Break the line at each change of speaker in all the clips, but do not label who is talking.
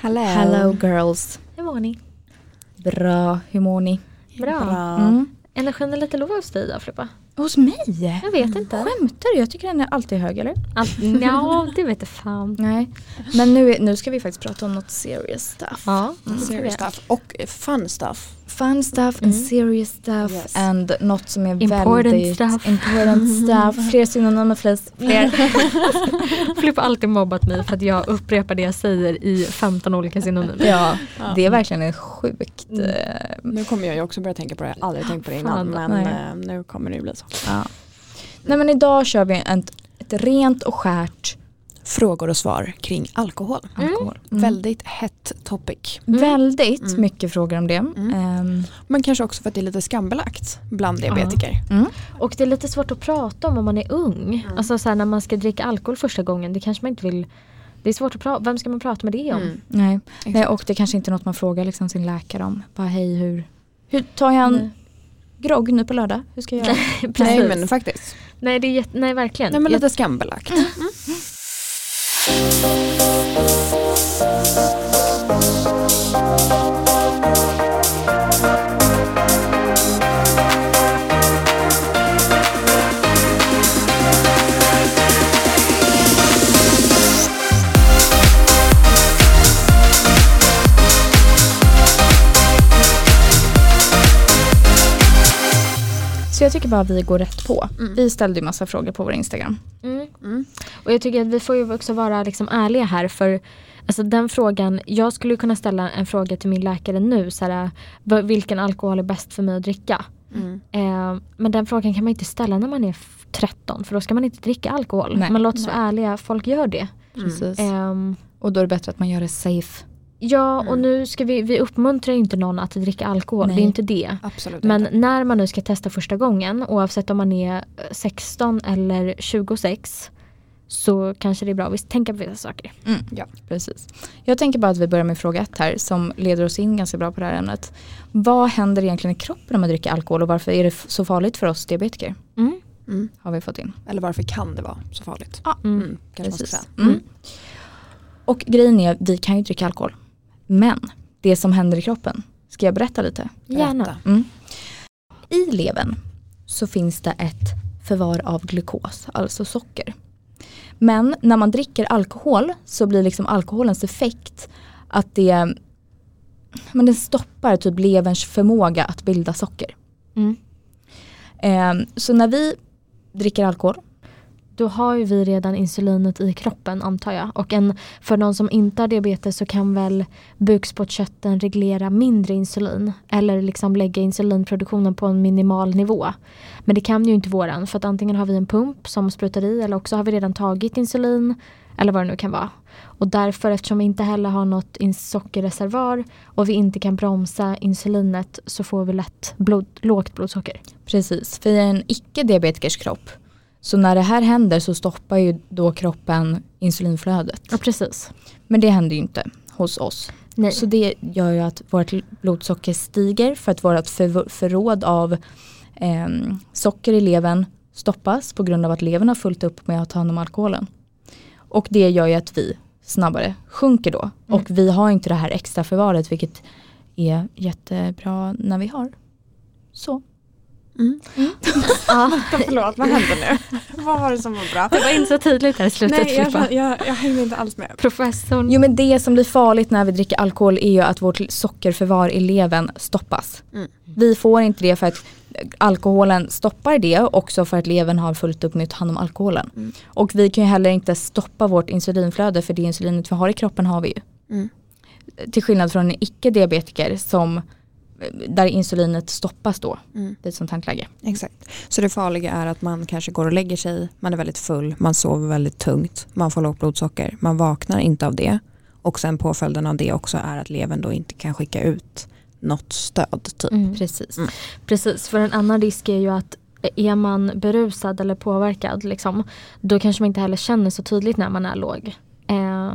Hello.
Hello
Ehm.
girls.
Hur mår ni?
Bra, hur mår ni?
Bra.
Mm.
Energin är lite låg hos dig då, Filippa.
Hos mig?
Jag vet inte.
Mm.
Skämtar du? Jag tycker den är alltid hög eller?
Allt, ja, det vet jag fan.
Nej. Men nu, är- nu ska vi faktiskt prata om något serious stuff.
Ja, det ska vi
Mm. Serious
göra.
stuff och fun stuff.
Fun stuff and
Mm.
serious stuff
Yes.
and något som är
Important
väldigt
stuff.
important stuff. Fler synonymer flis. Fler.
Filippa har alltid mobbat mig för att jag upprepar det jag säger i 15 olika synonymer.
ja,
Ja.
det är verkligen en sjukt.
Mm.
eh,
Nu kommer jag ju också börja tänka på det. Jag har aldrig tänkt på det innan
Fan,
men
nej.
eh, nu kommer det ju bli så.
Ja. Nej men idag kör vi ett, ett rent och skärt
Frågor och svar kring alkohol.
Mm.
alkohol. Mm.
Väldigt hett topic.
Mm.
Väldigt
Mm.
mycket frågor om det. Ehm,
Men kanske också för att det är lite skambelagt bland
Ja.
diabetiker.
mm.
Och det är lite svårt att prata om om man är ung. Alltså så här, när man ska dricka alkohol första gången, det kanske man inte vill. Det är svårt att prata, vem ska man prata med det om?
Mm.
Nej.
Exakt.
Nej, och det kanske inte är något man frågar liksom sin läkare om. Bara hej hur, hur tar jag en
Nej.
grogg nu på lördag? Hur ska jag göra?
Precis.
Nej men faktiskt.
nej, det är jätte, nej verkligen.
Nej men
Jag-
lite skambelagt.
Så jag tycker bara vi går rätt på. Vi ställde ju massa frågor på vår Instagram.
Mm.
Mm.
Och jag tycker att vi får ju också vara liksom ärliga här för alltså den frågan, jag skulle ju kunna ställa en fråga till min läkare nu så här, "V- vilken alkohol är bäst för mig att dricka?
Mm.
Eh, men den frågan kan man inte ställa när man är f- 13 för då ska man inte dricka alkohol.
Nej.
Men låt oss vara ärliga, folk gör det.
Mm.
Precis.
Ehm,
Och då är det bättre att man gör det safe.
ja och
Mm.
nu ska vi, vi uppmuntrar ju inte någon att dricka alkohol,
Nej.
det är inte det.
Absolut
Men
inte.
när man nu ska testa första gången, oavsett om man är eh, 16 eller 26, så kanske det är bra att vi tänker på vissa saker.
Ja.
Mm, Precis. Jag tänker bara att vi börjar med fråga ett här som leder oss in ganska bra på det här ämnet. Vad händer egentligen i kroppen om man dricker alkohol och varför är det f- så farligt för oss diabetiker?
Mm.
Mm.
Har vi fått in.
Eller varför kan det vara så farligt?
Mm.
Mm. Kanske man ska säga.
Mm.
Mm.
Och grejen är, vi kan ju dricka alkohol. Men det som händer i kroppen, ska jag berätta lite?
Gärna.
Berätta.
Mm. I levern så finns det ett förvar av glukos, alltså socker. Men när man dricker alkohol så blir liksom alkoholens effekt att det men den stoppar typ leverns förmåga att bilda socker.
Mm.
Ehm, så när vi dricker alkohol,
Då har ju vi redan insulinet i kroppen antar jag. Och en, för någon som inte har diabetes så kan väl bukspottkörteln reglera mindre insulin. Eller liksom lägga insulinproduktionen på en minimal nivå. Men det kan ju inte våran för att antingen har vi en pump som sprutar i eller också har vi redan tagit insulin. Eller vad det nu kan vara. Och därför eftersom vi inte heller har något in- sockerreservoar och vi inte kan bromsa insulinet så får vi lätt blod, lågt blodsocker.
Precis, för i en icke-diabetikers kropp så när det här händer så stoppar ju då kroppen insulinflödet.
Ja precis.
Men det händer ju inte hos oss.
Nej.
Så det gör ju att vårt blodsocker stiger för att vårt förv- förråd av ehm, socker i levern stoppas på grund av att levern har fullt upp med att ta hand om alkoholen. Och det gör ju att vi snabbare sjunker då.
Mm.
Och vi har inte det här extra förvaret vilket är jättebra när vi har. Så.
Mm.
Ja.
Förlåt, vad hände nu? vad var det som var bra?
Det var inte så tydligt här i slutet
Nej, jag,
Filippa.
jag, jag hängde inte alls med.
Professorn.
Jo men det som blir farligt när vi dricker alkohol är ju att vårt sockerförvar i levern stoppas.
Mm.
Vi får inte det för att alkoholen stoppar det också för att levern har fullt upp med att ta hand om alkoholen.
Mm.
Och vi kan ju heller inte stoppa vårt insulinflöde för det insulinet vi har i kroppen har vi ju.
Mm.
Till skillnad från en icke-diabetiker som eh, där insulinet stoppas då
Mm.
i ett sånt här läge.
Exakt. Så det farliga är att man kanske går och lägger sig, man är väldigt full, man sover väldigt tungt, man får lågt blodsocker, man vaknar inte av det och sen påföljden av det också är att levern då inte kan skicka ut något stöd. Typ.
Mm.
Precis.
Mm.
Precis, för en annan risk är ju att eh, är man berusad eller påverkad liksom, då kanske man inte heller känner så tydligt när man är låg. Eh,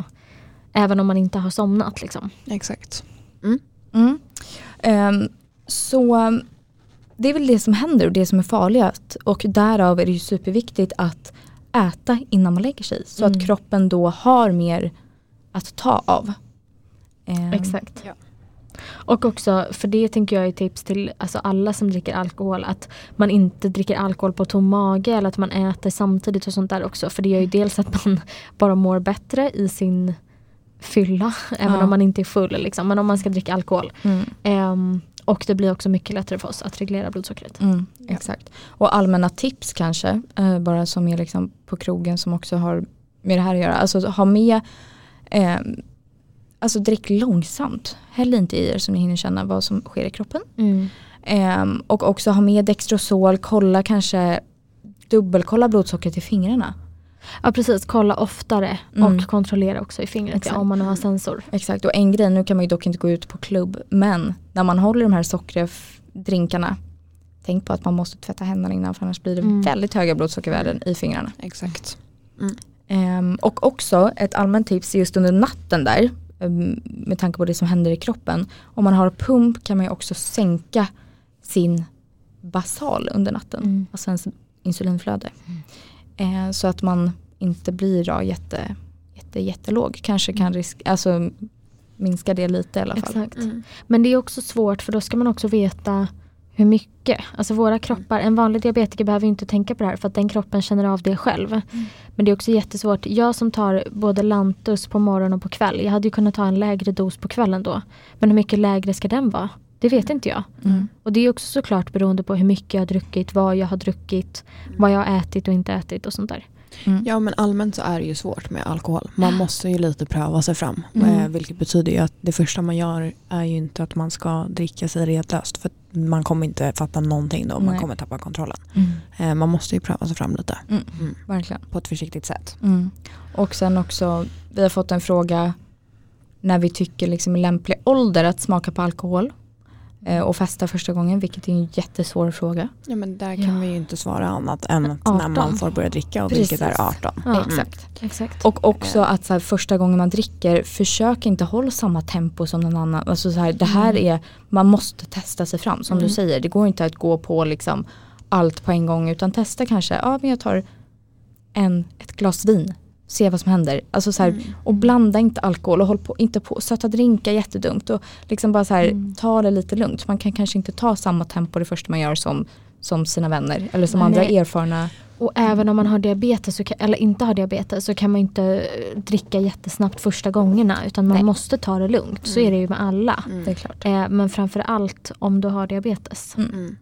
även om man inte har somnat liksom.
Exakt.
Mm. Ehm, så um, det är väl det som händer och det som är farligast. Och därav är det ju superviktigt att äta innan man lägger sig. Så
Mm.
att kroppen då har mer att ta av. Ehm,
exakt.
Ja.
Och också, för det tänker jag är tips till alltså alla som dricker alkohol, att man inte dricker alkohol på tom mage eller att man äter samtidigt och sånt där också. För det gör ju dels att man bara mår bättre i sin fylla, även
Ja.
om man inte är full. Liksom. Men om man ska dricka alkohol.
Mm.
Ehm, och det blir också mycket lättare för oss att reglera blodsockret.
Mm, exakt. Och allmänna tips kanske, eh, bara som är liksom på krogen som också har med det här att göra. Alltså ha med, eh, alltså drick långsamt. Häll inte i er så ni hinner känna vad som sker i kroppen. Eh, och också ha med Dextrosol, kolla kanske, dubbelkolla blodsockret i fingrarna.
Ja precis, kolla oftare
Mm.
och kontrollera också i fingret ja,
Exakt.
om man nu har sensor.
Exakt, och en grej, nu kan man ju dock inte gå ut på klubb, men när man håller de här sockerdrinkarna, tänk på att man måste tvätta händerna innan för annars blir det
Mm.
väldigt höga blodsockervärden i fingrarna.
Exakt.
Ehm, och också ett allmänt tips just under natten där, ehm, med tanke på det som händer i kroppen. Om man har pump kan man ju också sänka sin basal under natten,
Mm.
alltså ens insulinflöde. Ehm, så att man inte blir då jätte, jätte, jättelåg, kanske kan risk, alltså, minska det lite i alla fall.
Exakt. Men det är också svårt för då ska man också veta hur mycket. Alltså våra kroppar, en vanlig diabetiker behöver ju inte tänka på det här för att den kroppen känner av det själv. Men det är också jättesvårt. Jag som tar både Lantus på morgon och på kväll. Jag hade ju kunnat ta en lägre dos på kvällen då. Men hur mycket lägre ska den vara? Det vet inte jag.
Mm.
Och det är också såklart beroende på hur mycket jag har druckit, vad jag har druckit, vad jag har ätit och inte ätit och sånt där.
Mm.
Ja men allmänt så är det ju svårt med alkohol. Man måste ju lite pröva sig fram.
Mm.
Eh, Vilket betyder ju att det första man gör är ju inte att man ska dricka sig redlöst. För att man kommer inte fatta någonting då. Man
Nej.
kommer tappa kontrollen. Eh, Man måste ju pröva sig fram lite.
Mm. Verkligen.
På ett försiktigt sätt.
Mm. Och sen också, vi har fått en fråga när vi tycker liksom i lämplig ålder att smaka på alkohol eh, och festa första gången, vilket är en jättesvår fråga.
Ja men där
kan
kan
Ja.
vi ju inte svara annat än att när
18.
man får börja dricka Mm. och vilket
Precis.
är 18.
Ja,
Exakt.
Exakt.
Och också att så här, första gången man dricker, försök inte hålla samma tempo som någon annan. Alltså så här, det här är, man måste testa sig fram som du
Mm.
säger. Det går inte att gå på liksom allt på en gång utan testa kanske, ja men jag tar en, ett glas vin, se vad som händer. Alltså så här,
Mm.
Och blanda inte alkohol och håll på, inte på söta drinkar jättedumt. Och liksom bara så här,
Mm.
ta det lite lugnt. Man kan kanske inte ta samma tempo det första man gör som, som sina vänner eller som andra
Nej. Mm.
erfarna.
Och även om man har diabetes, så kan, eller inte har diabetes, så kan man inte eh, dricka jättesnabbt första gångerna. Utan man
Nej. Mm.
måste ta det lugnt. Så är det ju med alla.
Det är klart.
Eh, men framför allt om du har diabetes.
Mm.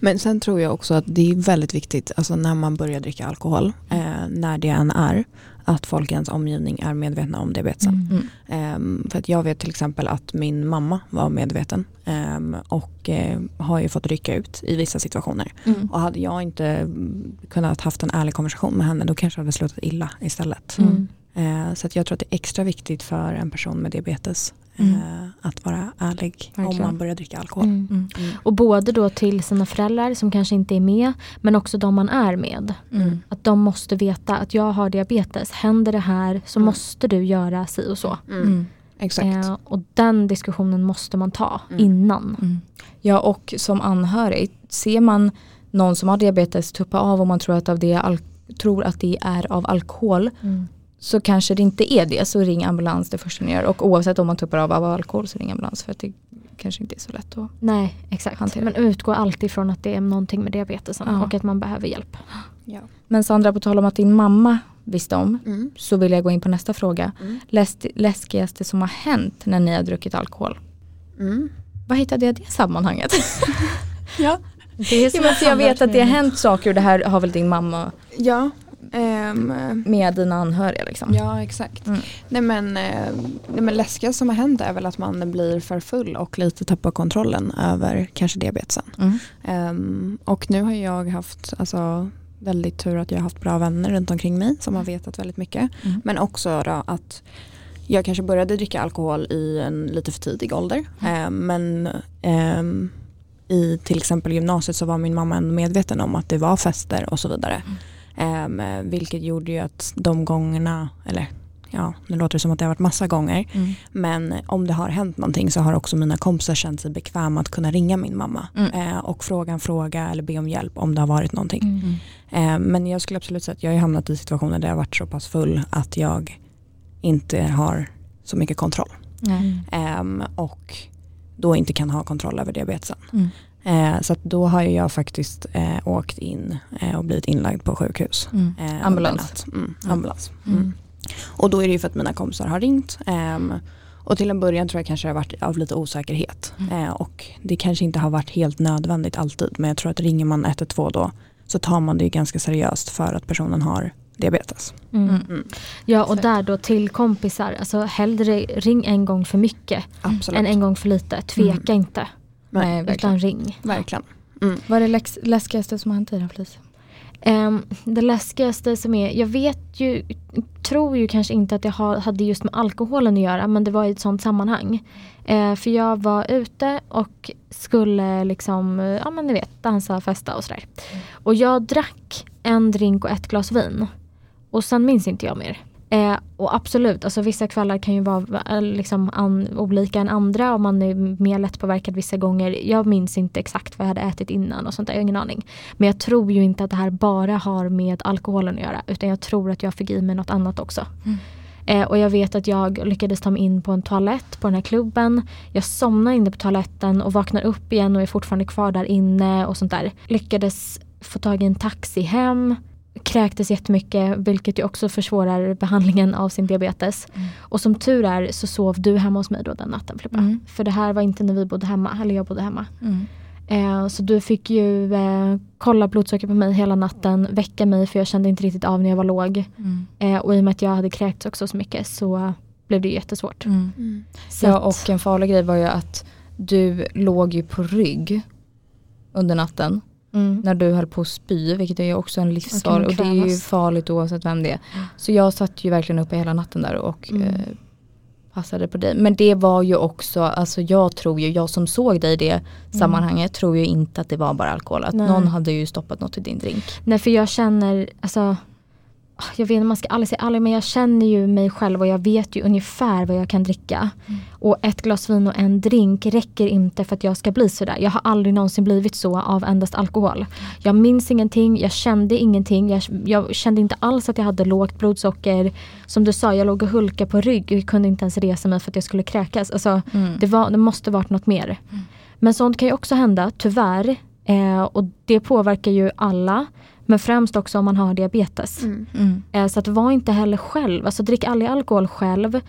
Men sen tror jag också att det är väldigt viktigt alltså när man börjar dricka alkohol,
Mm.
eh, när det än är, att folk i ens omgivning är medvetna om diabetesen.
Mm.
Ehm, för att jag vet till exempel att min mamma var medveten ehm, och eh, har ju fått rycka ut i vissa situationer.
Mm.
Och hade jag inte mm, kunnat haft en ärlig konversation med henne då kanske det hade slutat illa istället.
Mm.
Eh, så att jag tror att det är extra viktigt för en person med diabetes
Mm.
eh, att vara ärlig om
Verkligen.
man börjar dricka alkohol.
Mm.
Mm.
Och både då till sina föräldrar som kanske inte är med, men också de man är med.
Mm.
Att de måste veta att jag har diabetes, händer det här så
Mm.
måste du göra si och så.
Mm.
Exakt.
Eh, och den diskussionen måste man ta
Mm.
innan.
Mm. Ja och som anhörig, ser man någon som har diabetes tuppa av och man tror att, av det är al- tror att det är av alkohol så kanske det inte är det så ring ambulans det första ni gör och oavsett om man tuppar av av alkohol så ring ambulans för att det kanske inte är så lätt att
Nej, exakt.
Hantera.
Men utgå alltid ifrån att det är någonting med diabetesen
Ja.
och att man behöver hjälp.
Ja.
Men Sandra, på tal om att din mamma visste om
Mm.
så vill jag gå in på nästa fråga.
Mm.
Läst, läskigaste som har hänt när ni har druckit alkohol?
Mm.
Vad hittade jag i det sammanhanget?
Det är
Jo, men för jag vet att det har hänt saker och det här har väl din mamma
Ja, ehm,
med dina anhöriga liksom.
ja exakt.
Mm.
Nej, men, eh, nej, men läskiga som har hänt är väl att man blir för full och lite tappar kontrollen över kanske diabetesen.
Mm.
Ehm, och nu har jag haft alltså, väldigt tur att jag har haft bra vänner runt omkring mig som har vetat väldigt mycket.
Mm.
Men också då att jag kanske började dricka alkohol i en lite för tidig ålder. Ehm, men ehm, i till exempel gymnasiet så var min mamma ändå medveten om att det var fester och så vidare. Ehm, vilket gjorde ju att de gångerna, eller ja, nu låter det som att det har varit massa gånger,
Mm.
men om det har hänt någonting så har också mina kompisar känt sig bekväma att kunna ringa min mamma
Mm.
eh, och fråga en fråga eller be om hjälp om det har varit någonting.
Mm.
Eh, men jag skulle absolut säga att jag har hamnat i situationer där jag har varit så pass full att jag inte har så mycket kontroll.
Nej.
Ehm, och då inte kan ha kontroll över diabetesen.
Mm.
Eh, så att då har ju jag faktiskt eh, åkt in eh, och blivit inlagd på sjukhus.
Mm.
Eh, under
Ambulans.
natt. Mm,
Ja.
ambulans.
Mm.
Mm. Och då är det ju för att mina kompisar har ringt. ehm, och till en början tror jag kanske det har varit av lite osäkerhet.
Mm.
Eh, och det kanske inte har varit helt nödvändigt alltid. Men jag tror att ringer man 112 då så tar man det ju ganska seriöst för att personen har diabetes.
Mm.
Mm.
Ja och
Exakt.
där då till kompisar, alltså hellre ring en gång för mycket
Absolut.
än Mm. en gång Eh, för lite. Tveka inte
Nej,
Nej, Mm. verkligen.
utan ring.
Verkligen.
Vad är det läx- läskigaste som har hänt dig då Felicia?
Ehm, det läskigaste som är, jag vet ju, tror ju kanske inte att det ha, hade just med alkoholen att göra men det var i ett sånt sammanhang. Eh, för jag var ute och skulle liksom, eh, ja men ni vet, dansa, festa och sådär. Och jag drack en drink och ett glas vin. Och sen minns inte jag mer. Eh, och absolut, alltså vissa kvällar kan ju vara eh, liksom an, olika än andra och man är mer lättpåverkad vissa gånger. Jag minns inte exakt vad jag hade ätit innan och sånt där, jag har ingen aning. Men jag tror ju inte att det här bara har med alkoholen att göra utan jag tror att jag fick i mig något annat också.
Mm.
Eh, och jag vet att jag lyckades ta mig in på en toalett på den här klubben. Jag somnar inne på toaletten och vaknar upp igen och är fortfarande kvar där inne och sånt där. Lyckades få tag i en taxi hem. Kräktes jättemycket vilket ju också försvårar behandlingen av sin diabetes.
Mm.
Och som tur är så sov du hemma hos mig då den natten Filippa.
Mm.
För det här var inte när vi bodde hemma, eller jag bodde hemma.
Mm.
Eh, så du fick ju eh, kolla blodsocker på mig hela natten, väcka mig för jag kände inte riktigt av när jag var låg.
Mm.
Eh, och i och med att jag hade kräkts också så mycket så blev det ju jättesvårt.
Mm.
Så
Ja
att-
och en farlig grej var ju att du låg ju på rygg under natten
mm.
när du höll på att spy vilket är ju också en livsfarlig
man
och det är ju
kvävas.
farligt oavsett vem det är. Så jag satt ju verkligen uppe hela natten där och
Mm.
eh, passade på dig. Men det var ju också, alltså jag tror ju, jag som såg dig i det sammanhanget tror ju inte att det var bara alkohol. Att
Mm. Nej.
någon hade ju stoppat något i din drink.
Nej för jag känner, alltså jag vet inte, man ska aldrig säga aldrig men jag känner ju mig själv och jag vet ju ungefär vad jag kan dricka. Och ett glas vin och en drink räcker inte för att jag ska bli sådär. Jag har aldrig någonsin blivit så av endast alkohol. Jag minns ingenting, jag kände ingenting, jag, jag kände inte alls att jag hade lågt blodsocker. Som du sa, jag låg och hulkade på rygg och kunde inte ens resa mig för att jag skulle kräkas. Alltså, det, var, det måste varit något mer. Men sånt kan ju också hända, tyvärr. Eh, och det påverkar ju alla. Men främst också om man har diabetes.
Mm.
Eh, så att var inte heller själv, alltså drick aldrig alkohol själv.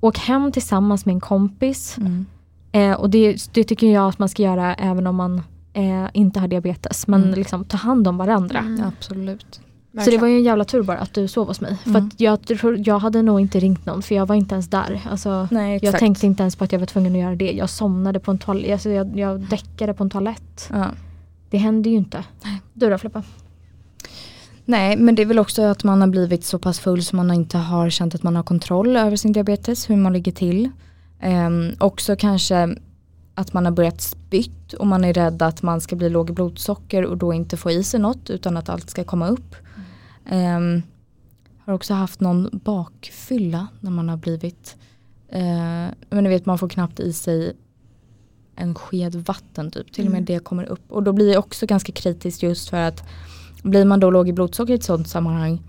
Åk hem tillsammans med en kompis.
Mm.
Eh, och det, det tycker jag att man ska göra även om man eh, inte har diabetes. Men
Mm.
liksom ta hand om varandra.
Absolut.
Så det var ju en jävla tur bara att du sov hos mig.
Mm.
För att jag, tror- jag hade nog inte ringt någon för jag var inte ens där. Alltså,
Nej
jag tänkte inte ens på att jag var tvungen att göra det. Jag somnade på en toalett, alltså jag, jag däckade på en toalett.
Ja.
Det händer ju inte. Du då Filippa?
Nej men det är väl också att man har blivit så pass full så man inte har känt att man har kontroll över sin diabetes, hur man ligger till. Ehm, också kanske att man har börjat spytt och man är rädd att man ska bli låg i blodsocker och då inte få i sig något utan att allt ska komma upp. Ehm, har också haft någon bakfylla när man har blivit, eh, men ni vet man får knappt i sig en sked vatten typ, till och med det kommer upp. Och då blir jag också ganska kritisk just för att blir man då låg i blodsocker i ett sådant sammanhang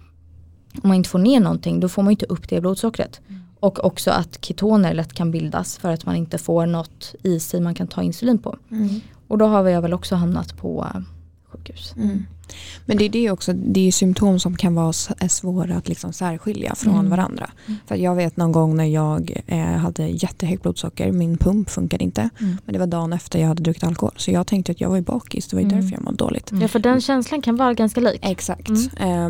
om man inte får ner någonting då får man ju inte upp det blodsockret. Och också att ketoner lätt kan bildas för att man inte får något i sig man kan ta insulin på.
Mm.
Och då har jag väl också hamnat på eh, sjukhus.
Mm. Men det är det också, det är ju symptom som kan vara s- är svåra att liksom särskilja från
Mm.
varandra.
Mm.
För att jag vet någon gång när jag eh, hade jättehögt blodsocker, min pump funkade inte.
Mm.
Men det var dagen efter jag hade druckit alkohol. Så jag tänkte att jag var ju bakis, det var ju
Mm.
därför jag mådde dåligt.
Mm.
Ja för den känslan kan vara ganska lik.
Exakt,
Mm.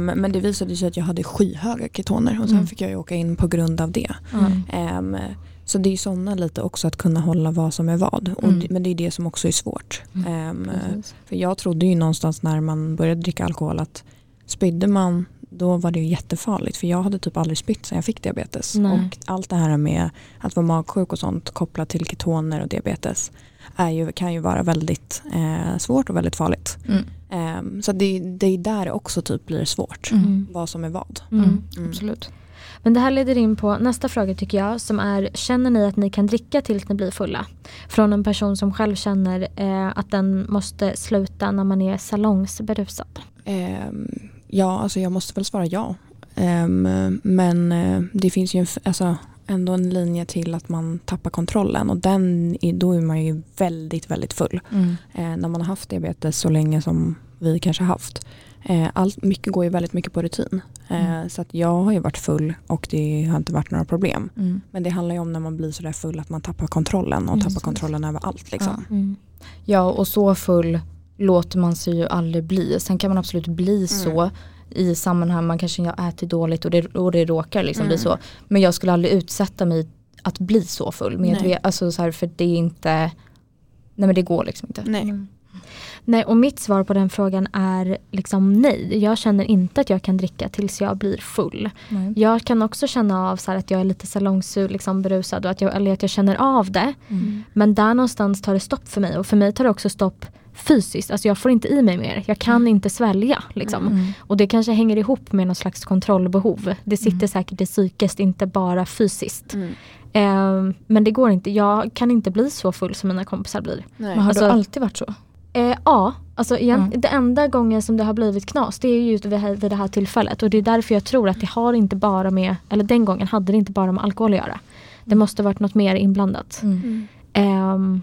Ehm, men det visade sig att jag hade skyhöga ketoner och sen
Mm.
fick jag ju åka in på grund av det.
Mm.
Ehm, så det är ju sådana lite också att kunna hålla vad som är vad. Och,
Mm.
d- Men det är det som också är svårt. Ehm,
Precis.
för jag trodde ju någonstans när man började dricka alkohol att spydde man då var det ju jättefarligt för jag hade typ aldrig spytt sedan jag fick diabetes.
Nej.
Och allt det här med att vara magsjuk och sånt kopplat till ketoner och diabetes är ju, kan ju vara väldigt eh, svårt och väldigt farligt.
Mm.
Ehm, så det, det är där det också typ blir svårt.
Mm.
Vad som är vad.
Mm.
Mm.
Mm.
Absolut.
Men det här leder in på nästa fråga tycker jag som är känner ni att ni kan dricka tills ni blir fulla? Från en person som själv känner eh, att den måste sluta när man är salongsberusad.
Ehm, ja, alltså jag måste väl svara ja. Ehm, men eh, det finns ju en, f- alltså, ändå en linje till att man tappar kontrollen och den, är- då är man ju väldigt, väldigt full.
Mm.
Eh, när man har haft diabetes så länge som vi kanske har haft. Eh, allt, mycket går ju väldigt mycket på rutin. Eh,
Mm.
Så att jag har ju varit full och det har inte varit några problem.
Mm.
Men det handlar ju om när man blir sådär full att man tappar kontrollen och
Mm,
tappar
precis.
kontrollen över allt. Liksom.
Mm.
Ja och så full låter man sig ju aldrig bli. Sen kan man absolut bli
Mm.
så i sammanhang man kanske har ätit dåligt och det, och det råkar liksom bli
Mm.
så. Men jag skulle aldrig utsätta mig att bli så full. Med,
Nej.
alltså så här, för det är inte, nej men det går liksom inte.
Nej.
Mm. Nej och mitt svar på den frågan är liksom nej. Jag känner inte att jag kan dricka tills jag blir full.
Nej.
Jag kan också känna av så här att jag är lite salongssur, liksom berusad och att jag, eller att jag känner av det.
Mm.
Men där någonstans tar det stopp för mig och för mig tar det också stopp fysiskt. Alltså jag får inte i mig mer. Jag kan inte svälja liksom.
Mm.
Och det kanske hänger ihop med någon slags kontrollbehov. Det sitter
Mm.
säkert i psykiskt, inte bara fysiskt. Eh, men det går inte. Jag kan inte bli så full som mina kompisar blir.
Men har
Alltså-
du alltid varit så?
Eh, ja, alltså igen,
Mm.
det enda gången som det har blivit knas det är ju vid det här- vid det här tillfället. Och det är därför jag tror att det har inte bara med, eller den gången hade det inte bara med alkohol att göra.
Mm.
Det måste varit något mer inblandat.
Mm.
Ehm,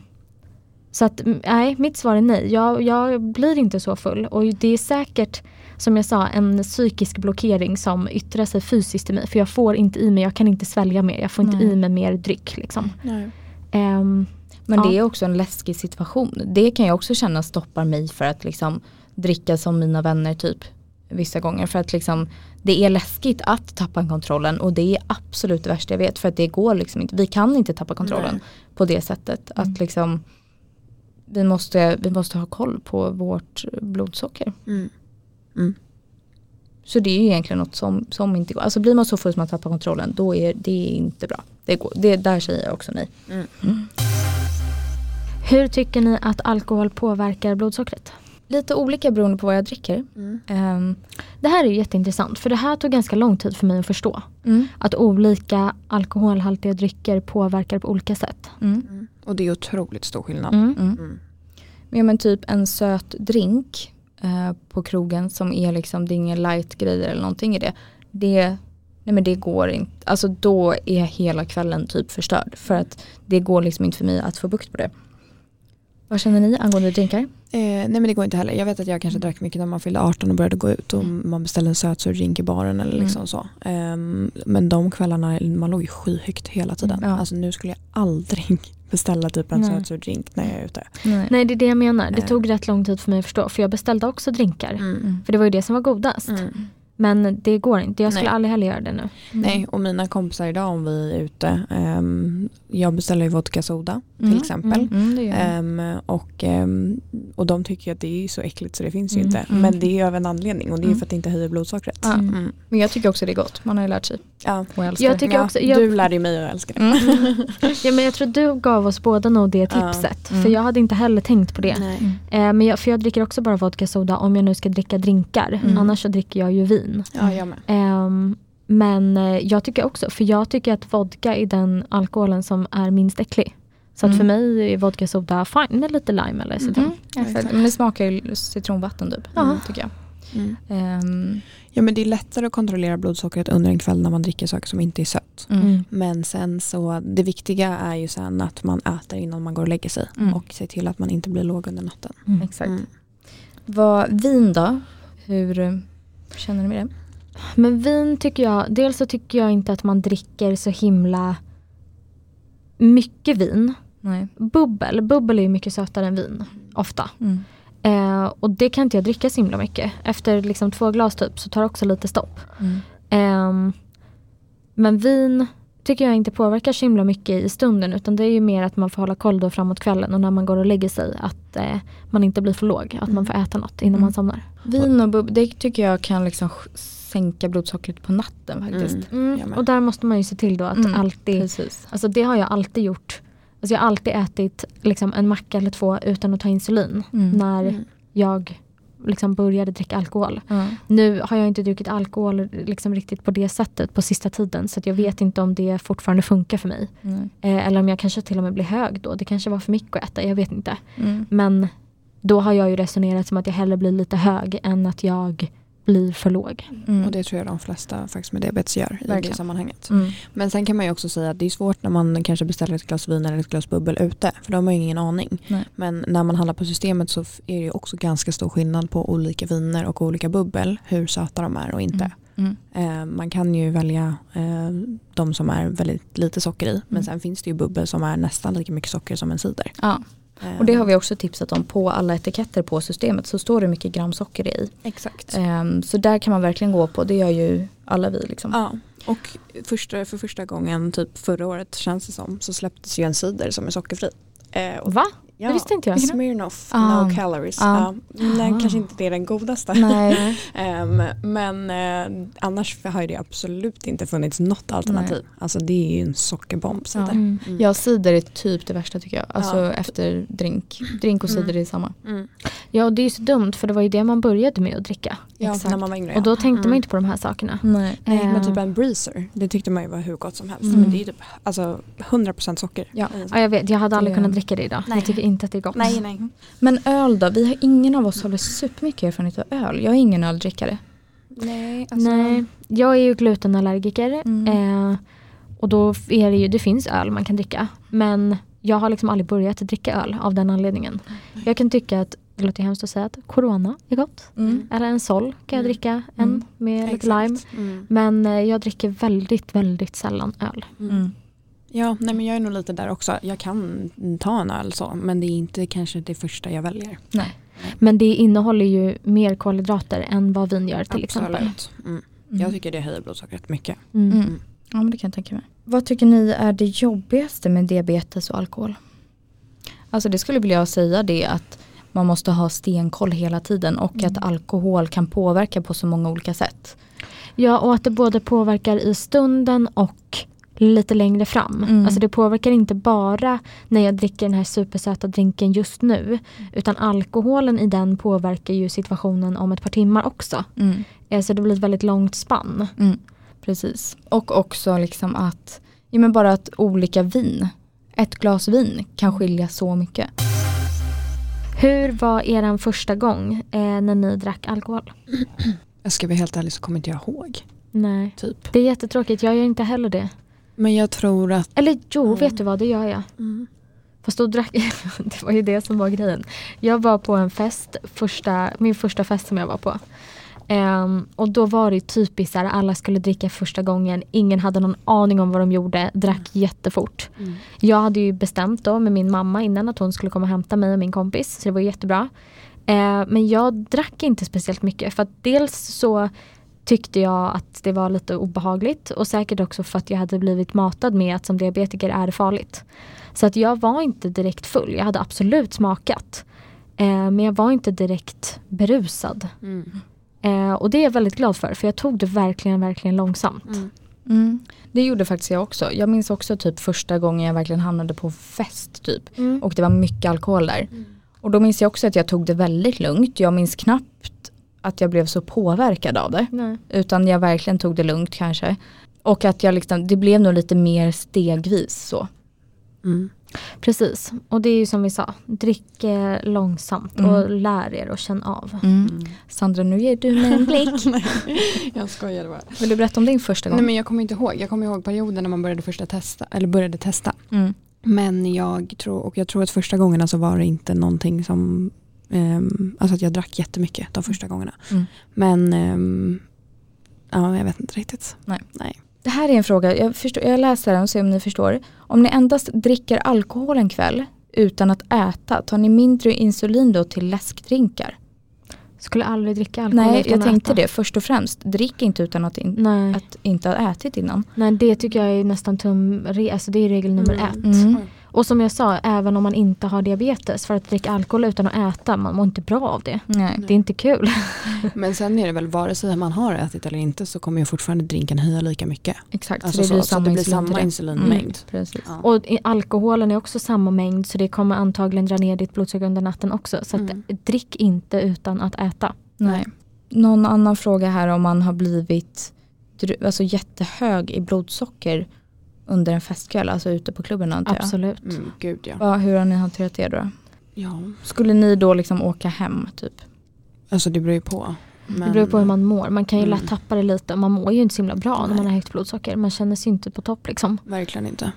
så att mm, nej, mitt svar är nej. Jag, jag blir inte så full. Och det är säkert, som jag sa, en psykisk blockering som yttrar sig fysiskt i mig. För jag får inte i mig, jag kan inte svälja mer. Jag får inte
Nej.
i mig mer dryck. Liksom.
Nej.
Ehm,
Men
Ja.
det är också en läskig situation. Det kan jag också känna stoppar mig för att liksom dricka som mina vänner typ vissa gånger. För att liksom det är läskigt att tappa kontrollen och det är absolut det värsta jag vet. För att det går liksom inte, vi kan inte tappa kontrollen
Nej.
på det sättet.
Mm.
Att liksom vi måste, vi måste ha koll på vårt blodsocker. Så det är ju egentligen något som, som inte går. Alltså blir man så full att man tappar kontrollen då är det inte bra. Det går, det, där säger jag också nej.
Mm.
hur tycker ni att alkohol påverkar blodsockret?
Lite olika beroende på vad jag dricker.
Mm.
Ehm,
Det här är ju jätteintressant för det här tog ganska lång tid för mig att förstå.
mm,
Att olika alkoholhaltiga drycker påverkar på olika sätt.
Mm.
Och det är otroligt stor skillnad.
Mm.
Mm.
Men, ja, men typ en söt drink eh, på krogen som är liksom, det är ingen light grejer eller någonting i det. Det, nej men det går inte, alltså då är hela kvällen typ förstörd. För att det går liksom inte för mig att få bukt på det. Vad känner ni angående drinkar?
Eh, nej men det går inte heller. Jag vet att jag
Mm.
kanske drack mycket när man fyllde 18 och började gå ut och man beställde en sötsur drink i baren eller liksom
Mm.
så. Ehm, men de kvällarna, man låg ju skyhögt hela tiden.
Mm, ja.
Alltså nu skulle jag aldrig beställa typ en
Nej.
sötsur drink när jag är ute.
Nej.
Nej det är det jag menar. Det
Nej.
tog rätt lång tid för mig att förstå för jag beställde också drinkar.
Mm.
För det var ju det som var godast.
Mm.
Men det går inte. Jag skulle
Nej.
aldrig heller göra det nu.
Nej och mina kompisar idag om vi är ute, ehm, jag beställer ju vodka soda
Mm.
till exempel.
Mm, mm, det gör jag.
Ehm, och, ehm, och de tycker ju att det är så äckligt så det finns ju
Mm,
inte.
mm.
Men det är ju av en anledning och det är ju
Mm.
för att det inte höjer blodsockret.
Ja.
Mm.
Men jag tycker också det är gott, man har ju lärt sig.
Ja.
Och jag älskar
Jag
det. Mm.
tycker
Ja,
också- jag-
Du lärde ju mig att älska det.
Ja, men jag tror du gav oss båda nog det
Ja.
tipset.
Mm.
För jag hade inte heller tänkt på det.
Nej.
Eh, men jag, för jag dricker också bara vodka soda om jag nu ska dricka drinkar.
Mm.
Annars så dricker jag ju vin.
Ja jag med.
Ehm, men eh, jag tycker också, för jag tycker att vodka är den alkoholen som är minst äcklig. Så att
Mm.
för mig är vodka soda fine med lite lime eller citron.
Mm, exakt. Men det smakar ju citronvatten typ,
Ja.
tycker jag.
Mm.
Ehm,
Ja men det är lättare att kontrollera blodsockret under en kväll när man dricker saker som inte är sött.
mm.
Men sen så, det viktiga är ju sen att man äter innan man går och lägger sig.
Mm.
Och se till att man inte blir låg under natten.
Exakt.
Mm.
Vad, vin då? Hur eh, känner ni med det?
Men vin tycker jag, dels så tycker jag inte att man dricker så himla mycket vin.
Nej.
Bubbel, bubbel är ju mycket sötare än vin, ofta.
Mm.
Eh, och det kan inte jag dricka så himla mycket. Efter liksom två glas typ så tar det också lite stopp.
Mm.
Ehm, men vin tycker jag inte påverkar så himla mycket i stunden utan det är ju mer att man får hålla koll då framåt kvällen och när man går och lägger sig att eh, man inte blir för låg, att man får äta något innan
Mm.
man somnar.
Vin och bubbel, det tycker jag kan liksom sj- sänka blodsockret på natten faktiskt.
Mm. Jag med.
Och där måste man ju se till då att
Mm,
alltid,
Precis.
alltså det har jag alltid gjort. Alltså jag har alltid ätit liksom en macka eller två utan att ta insulin
Mm.
när
Mm.
jag liksom började dricka alkohol.
Ja.
Nu har jag inte druckit alkohol liksom riktigt på det sättet på sista tiden så att jag vet inte om det fortfarande funkar för mig.
Nej.
Eh, eller om jag kanske till och med blir hög då. Det kanske var för mycket att äta, jag vet inte.
Mm.
Men då har jag ju resonerat som att jag hellre blir lite hög än att jag blir för låg.
Mm.
Och det tror jag de flesta faktiskt med diabetes gör i
Verkligen.
det sammanhanget.
Mm.
Men sen kan man ju också säga att det är svårt när man kanske beställer ett glas vin eller ett glas bubbel ute. För de har ju ingen aning.
Nej.
Men när man handlar på systemet så f- är det ju också ganska stor skillnad på olika viner och olika bubbel. Hur söta de är och inte.
Mm.
Eh, man kan ju välja eh, de som är väldigt lite socker i. Men
Mm.
sen finns det ju bubbel som är nästan lika mycket socker som en cider.
Ja.
Eh,
Och det har vi också tipsat om på alla etiketter på systemet så står det hur mycket gram socker det är i.
Eh, Exakt.
Ehm, så där kan man verkligen gå på, det gör ju alla vi liksom.
Ja, och första, för första gången typ förra året känns det som så släpptes ju en cider som är sockerfri. Eh, och-
Va?
ja,
Det visste inte jag.
Smirnoff,
Ah.
no calories.
Ah.
Ja. Den
Ah.
kanske inte det är den godaste.
Nej.
Ehm, men eh, annars har ju det absolut inte funnits något alternativ. Alltså det är ju en sockerbomb. Så
Ja.
där.
Mm.
Mm.
Ja cider är typ det värsta tycker jag, alltså
Ja.
efter drink. Drink och cider är samma.
Mm.
Ja, och det är ju så dumt för det var ju det man började med att dricka.
Ja,
Exakt.
när man var yngre.
Och då
ja.
tänkte man
Mm.
ju inte på de här sakerna.
Nej.
Nej, men typ
Eh,
en breezer, det tyckte man ju var hur gott som helst.
Mm.
Men det är ju typ alltså, 100% socker. Mm.
Ja.
i en sån.
ja, jag vet, jag hade aldrig
Det-
kunnat dricka det idag.
Nej.
Jag tycker inte att det är gott.
nej.
Men öl då, vi har, ingen av oss har väl supermycket erfarenhet av öl. Jag är ingen öldrickare.
Nej,
Nej, alltså- jag är ju glutenallergiker
Alltså- Mm.
eh, och då är det ju, det finns öl man kan dricka. Men jag har liksom aldrig börjat dricka öl av den anledningen. Jag kan tycka att, det låter hemskt att säga att Corona är gott.
Mm.
Eller en Sol kan jag
Mm.
dricka,
Mm.
en med lite lime.
Mm.
Men eh, jag dricker väldigt, väldigt sällan öl.
Mm.
Ja, nej men jag är nog lite där också. Jag kan ta en öl så, men det är inte kanske det första jag väljer.
Nej.
Men det innehåller ju mer kolhydrater än vad vin gör till exempel.
Mm.
Mm.
Jag tycker det höjer blodsockret mycket.
Mm.
Mm. Ja men det kan jag tänka mig. Vad tycker ni är det jobbigaste med diabetes och alkohol? Alltså det skulle vilja säga det att man måste ha stenkoll hela tiden och att alkohol kan påverka på så många olika sätt.
Ja, och att det både påverkar i stunden och lite längre fram.
Mm.
Alltså det påverkar inte bara när jag dricker den här supersöta drinken just nu. Utan alkoholen i den påverkar ju situationen om ett par timmar också. Eh, Så det blir ett väldigt långt spann.
Mm, precis. Och också liksom att, ja men bara att olika vin, ett glas vin kan skilja så mycket.
Hur var er första gång eh, när ni drack alkohol?
Jag ska vara helt ärlig så kommer inte jag ihåg.
Nej.
Typ.
Det är jättetråkigt, jag gör inte heller det.
Men jag tror att...
Eller jo,
Mm.
vet du vad, det gör jag. Fast då drack det var ju det som var grejen. Jag var på en fest, första, min första fest som jag var på. Ehm, och då var det ju typiskt såhär, alla skulle dricka första gången, ingen hade någon aning om vad de gjorde, drack jättefort. Jag hade ju bestämt då med min mamma innan att hon skulle komma och hämta mig och min kompis, så det var ju jättebra. Ehm, men jag drack inte speciellt mycket för att dels så tyckte jag att det var lite obehagligt och säkert också för att jag hade blivit matad med att som diabetiker är det farligt. Så att jag var inte direkt full, jag hade absolut smakat. Eh, men jag var inte direkt berusad. Eh, och det är jag väldigt glad för, för jag tog det verkligen, verkligen långsamt.
Mm. Det gjorde faktiskt jag också. Jag minns också typ första gången jag verkligen hamnade på fest typ.
Mm.
Och det var mycket alkohol där.
Mm.
Och då minns jag också att jag tog det väldigt lugnt. Jag minns knappt att jag blev så påverkad av det.
Nej.
Utan jag verkligen tog det lugnt kanske. Och att jag liksom, det blev nog lite mer stegvis så.
Mm.
Precis, och det är ju som vi sa, drick eh, långsamt
Mm.
och lär er och känn av.
Mm.
Sandra nu ger du mig en blick.
Jag skojade bara.
Vill du berätta om din första gång?
Nej men jag kommer inte ihåg. Jag kommer ihåg perioden när man började, första testa, eller började testa.
Mm.
Men jag tror, och jag tror att första gångerna så var det inte någonting som, ehm, alltså att jag drack jättemycket de första gångerna.
Mm.
Men ehm, ja, jag vet inte riktigt.
Det här är en fråga, jag, förstår, jag läser den och ser om ni förstår. Om ni endast dricker alkohol en kväll utan att äta, tar ni mindre insulin då till läskdrinkar?
Skulle aldrig dricka alkohol
Nej,
utan
jag
att
tänkte
äta.
det. Först och främst, drick inte utan att,
Mm.
in,
Nej.
att inte ha ätit innan.
Nej, det tycker jag är nästan tum, re- alltså det är regel nummer
Mm.
ett.
Mm.
Och som jag sa, även om man inte har diabetes, för att dricka alkohol utan att äta, man mår inte bra av det.
Nej.
Det är inte kul.
Men sen är det väl, vare sig man har ätit eller inte så kommer ju fortfarande drinken höja lika mycket.
Exakt,
Alltså
så det
så,
blir
så
samma,
det blir
insulin till
samma
det.
insulinmängd.
Mm, precis.
Ja.
Och i- alkoholen är också samma mängd så det kommer antagligen dra ner ditt blodsocker under natten också. Så att,
Mm.
drick inte utan att äta.
Nej. Någon annan fråga här om man har blivit dru- alltså jättehög i blodsocker under en festkväll, alltså ute på klubben antar jag.
Absolut.
Mm, gud ja.
Vad- hur har ni hanterat det då?
ja.
Skulle ni då liksom åka hem typ?
Alltså det beror ju på.
Det beror på hur man mår. Man kan ju
Mm.
lätt tappa det lite och man mår ju inte så himla bra när man har högt blodsocker. Man känner sig inte på topp liksom.
Verkligen inte.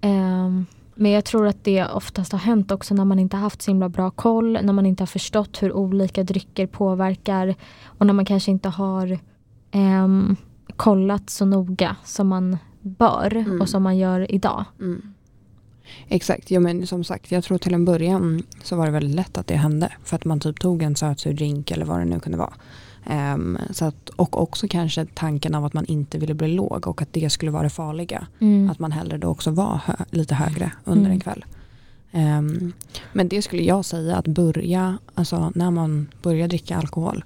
Ehm, Men jag tror att det oftast har hänt också när man inte har haft så himla bra koll, när man inte har förstått hur olika drycker påverkar och när man kanske inte har ehm, kollat så noga som man bör
Mm.
och som man gör idag.
Mm. Exakt, ja, men som sagt jag tror till en början så var det väldigt lätt att det hände för att man typ tog en sötsur drink eller vad det nu kunde vara. Ehm, så att, och också kanske tanken av att man inte ville bli låg och att det skulle vara det farliga. Att man hellre då också var hö lite högre under
Mm.
en kväll. Ehm, men det skulle jag säga att börja, alltså när man börjar dricka alkohol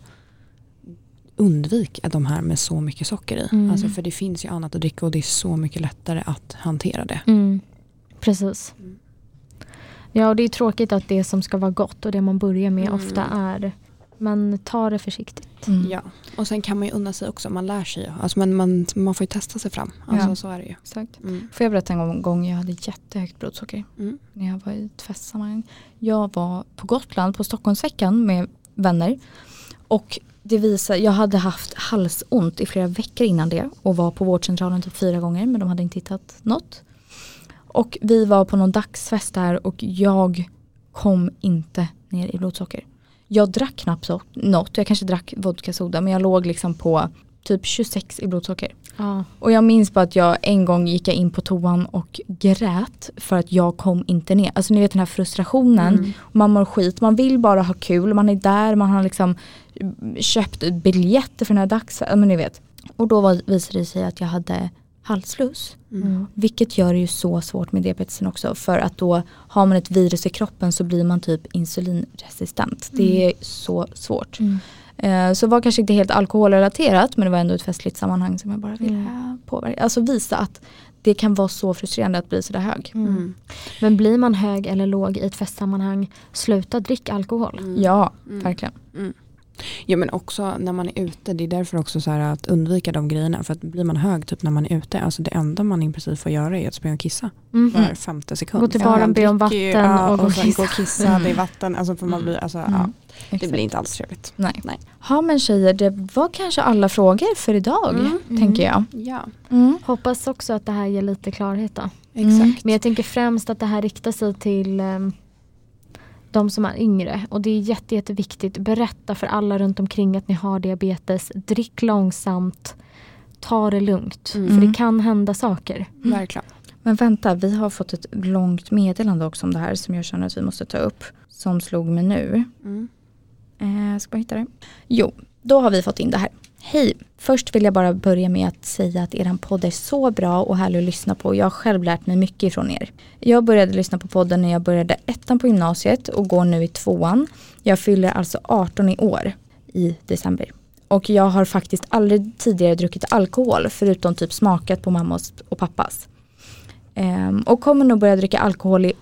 undvik de här med så mycket socker i.
Mm.
Alltså för det finns ju annat att dricka och det är så mycket lättare att hantera det.
Mm. Precis.
Mm.
Ja, och det är tråkigt att det som ska vara gott och det man börjar med
Mm.
ofta är, men ta det försiktigt.
Mm.
Ja, och sen kan man ju unna sig också, man lär sig ju. Alltså man, man, man får ju testa sig fram, alltså
Ja.
så är det ju.
Exakt.
Mm.
Får jag berätta en gång- gång jag hade jättehögt blodsocker
Mm.
när jag var i ett festsammanhang. Jag var på Gotland på Stockholmsveckan med vänner och det visade, jag hade haft halsont i flera veckor innan det och var på vårdcentralen typ fyra gånger men de hade inte hittat något. Och vi var på någon dagsfest där och jag kom inte ner i blodsocker. Jag drack knappt så- något, jag kanske drack vodka soda men jag låg liksom på typ 26 i blodsocker.
Ja.
Och jag minns bara att jag en gång gick jag in på toan och grät för att jag kom inte ner. Alltså ni vet den här frustrationen.
Mm.
Man mår skit, man vill bara ha kul, man är där, man har liksom mm, köpt biljetter för den här dags... ja, Men ni vet. Och då var, visade det sig att jag hade halsfluss.
Mm.
Vilket gör det ju så svårt med diabetesen också. För att då har man ett virus i kroppen så blir man typ insulinresistent. Det är så svårt.
Mm.
Eh, Så var kanske inte helt alkoholrelaterat men det var ändå ett festligt sammanhang som jag bara ville
Mm.
påverka. Alltså visa att det kan vara så frustrerande att bli sådär hög.
Mm.
Men blir man hög eller låg i ett festsammanhang, sluta drick alkohol.
Mm.
Ja, verkligen.
Ja men också när man är ute, det är därför också så här att undvika de grejerna. För att blir man hög typ när man är ute, alltså det enda man i princip får göra är att springa och kissa
Mhm.
var femte sekund.
Gå till
Ja,
baren,
man
be om
dricker ju,
vatten
ja,
och gå och
sen
kissa. Mm.
gå och kissa. Det är vatten, alltså för man blir, alltså, ja,
Mm.
det
Exakt.
blir inte alls trevligt.
Nej.
Nej.
Ja men tjejer, det var kanske alla frågor för idag
Mm.
tänker jag.
Ja,
Mm.
Hoppas också att det här ger lite klarhet då.
exakt.
Men jag tänker främst att det här riktar sig till ehm, de som är yngre. Och det är jätte, jätteviktigt. Berätta för alla runt omkring att ni har diabetes. Drick långsamt. Ta det lugnt.
Mm.
För det kan hända saker.
Verkligen.
Men vänta, vi har fått ett långt meddelande också om det här som jag känner att vi måste ta upp. Som slog mig nu.
Mm.
Eh, jag ska bara hitta det. Jo, då har vi fått in det här. Hej, först vill jag bara börja med att säga att er podd är så bra och härlig att lyssna på. Jag har själv lärt mig mycket ifrån er. Jag började lyssna på podden när jag började ettan på gymnasiet och går nu i tvåan. Jag fyller alltså 18 i år i december. Och jag har faktiskt aldrig tidigare druckit alkohol förutom typ smakat på mammas och pappas. Ehm, och kommer nog börja dricka alkohol i,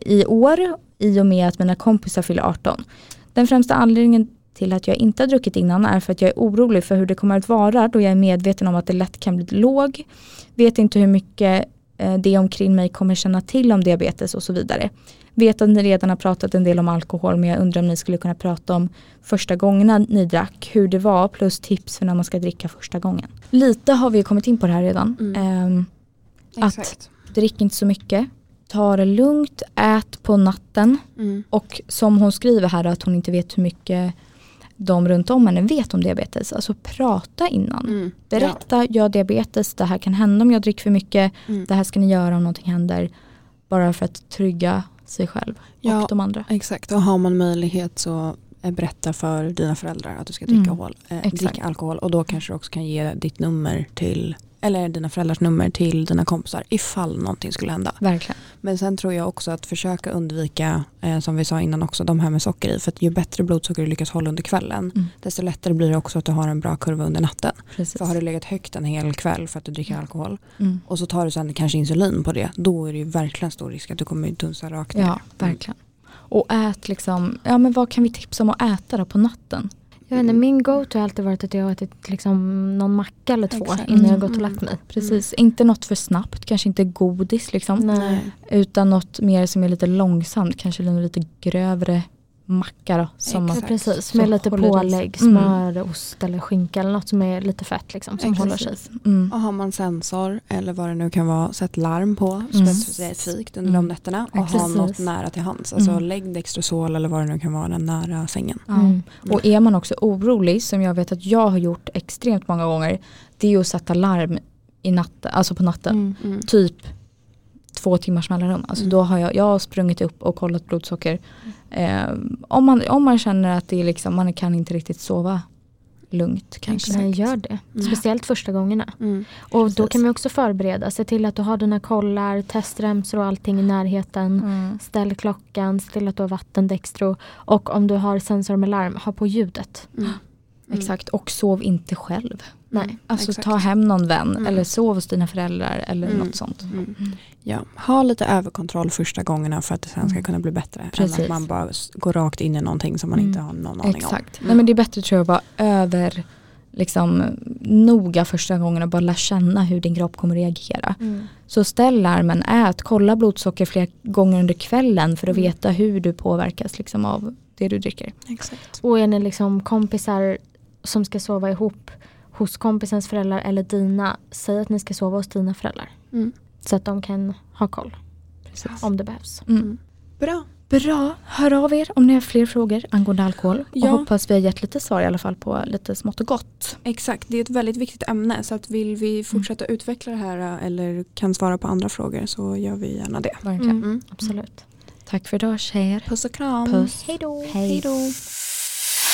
i år i och med att mina kompisar fyller 18. Den främsta anledningen till att jag inte har druckit innan är för att jag är orolig för hur det kommer att vara då jag är medveten om att det lätt kan bli låg. Vet inte hur mycket eh, det omkring mig kommer känna till om diabetes och så vidare. Vet att ni redan har pratat en del om alkohol men jag undrar om ni skulle kunna prata om första gångerna ni drack, hur det var plus tips för när man ska dricka första gången. Lite har vi ju kommit in på det här redan.
Mm.
Ehm, Att-
Exakt.
drick inte så mycket, ta det lugnt, ät på natten.
Mm.
Och som hon skriver här att hon inte vet hur mycket de runt om henne vet om diabetes. Alltså prata innan.
Mm.
Berätta, jag har diabetes, det här kan hända om jag dricker för mycket.
Mm.
Det här ska ni göra om någonting händer. Bara för att trygga sig själv
Ja.
och de andra.
Exakt, och har man möjlighet så eh, berätta för dina föräldrar att du ska dricka,
Mm,
alkohol, eh,
exakt. Mm.
dricka alkohol och då kanske du också kan ge ditt nummer till eller dina föräldrars nummer till dina kompisar ifall någonting skulle hända.
Verkligen.
Men sen tror jag också att försöka undvika, eh, som vi sa innan också, de här med socker i. För att ju bättre blodsocker du lyckas hålla under kvällen,
Mm.
desto lättare blir det också att du har en bra kurva under natten.
Precis.
För har du legat högt en hel kväll för att du dricker alkohol
Mm.
och så tar du sen kanske insulin på det, då är det ju verkligen stor risk att du kommer ju dunsa rakt ner.
Ja, verkligen. Och ät liksom, ja men vad kan vi tipsa om att äta då på natten?
Jag vet inte, min go-to har alltid varit att jag har ätit liksom någon macka eller två
Exakt.
innan jag
Mm.
gått och lagt mig.
Precis, inte något för snabbt, kanske inte godis liksom.
Nej.
Mm. Nej.
Utan något mer som är lite långsamt, kanske lite grövre macka då. Som man,
Ja, precis,
Så
med lite
håller det sig.
pålägg,
Mm.
smör, ost eller skinka eller något som är lite fett liksom som
Exakt.
håller sig.
mm.
Och har man sensor eller vad det nu kan vara, sätt larm på
Mm.
specifikt under
Mm.
de nätterna och
Exakt.
ha något
Precis.
nära till hands. Alltså
Mm.
lägg Dextrosol eller vad det nu kan vara nära sängen.
Ja.
Mm.
Och är man också orolig, som jag vet att jag har gjort extremt många gånger, det är ju att sätta larm i natt, alltså på natten. Typ två timmars mellanrum. Alltså
Mm.
då har jag, jag har sprungit upp och kollat blodsocker. Eh, om, man, om man känner att det är liksom, man kan inte riktigt sova lugnt kanske.
Nej, gör det.
Mm.
Speciellt första gångerna.
Mm.
Och då
Precis.
kan vi också förbereda. Se till att du har dina kollar, testremsor och allting i närheten.
Mm.
Ställ klockan, se till att du har vatten, Dextro. Och om du har sensor med larm, ha på ljudet.
Mm.
Exakt, och sov inte själv.
Nej.
Alltså
Exakt.
ta hem någon vän
Mm.
eller sov hos dina föräldrar eller
Mm.
något sånt.
Mm. Ja, ha lite överkontroll första gångerna för att det sen ska
Mm.
kunna bli bättre.
Precis.
Än att man bara s- går rakt in i någonting som man
Mm.
inte har någon aning om.
Exakt.
Mm.
Nej, men det är bättre tror jag att vara över liksom, noga första gången och bara lära känna hur din kropp kommer reagera. Så ställ larmen, ät, kolla blodsocker flera gånger under kvällen för att
Mm.
veta hur du påverkas liksom, av det du dricker.
Exakt.
Och är ni liksom kompisar som ska sova ihop hos kompisens föräldrar eller dina, säg att ni ska sova hos dina föräldrar.
Mm.
Så att de kan ha koll
Precis.
om det behövs.
Mm.
Bra.
Bra, hör av er om ni har fler frågor angående alkohol.
Ja.
Och hoppas vi har gett lite svar i alla fall på lite smått och gott.
Exakt, det är ett väldigt viktigt ämne så att vill vi fortsätta utveckla det här eh, eller kan svara på andra frågor så gör vi gärna det.
Verkligen.
Mm,
Mm.
Absolut.
Tack för idag tjejer.
Puss och kram.
Puss.
Hej då.
Hej
Mm. då.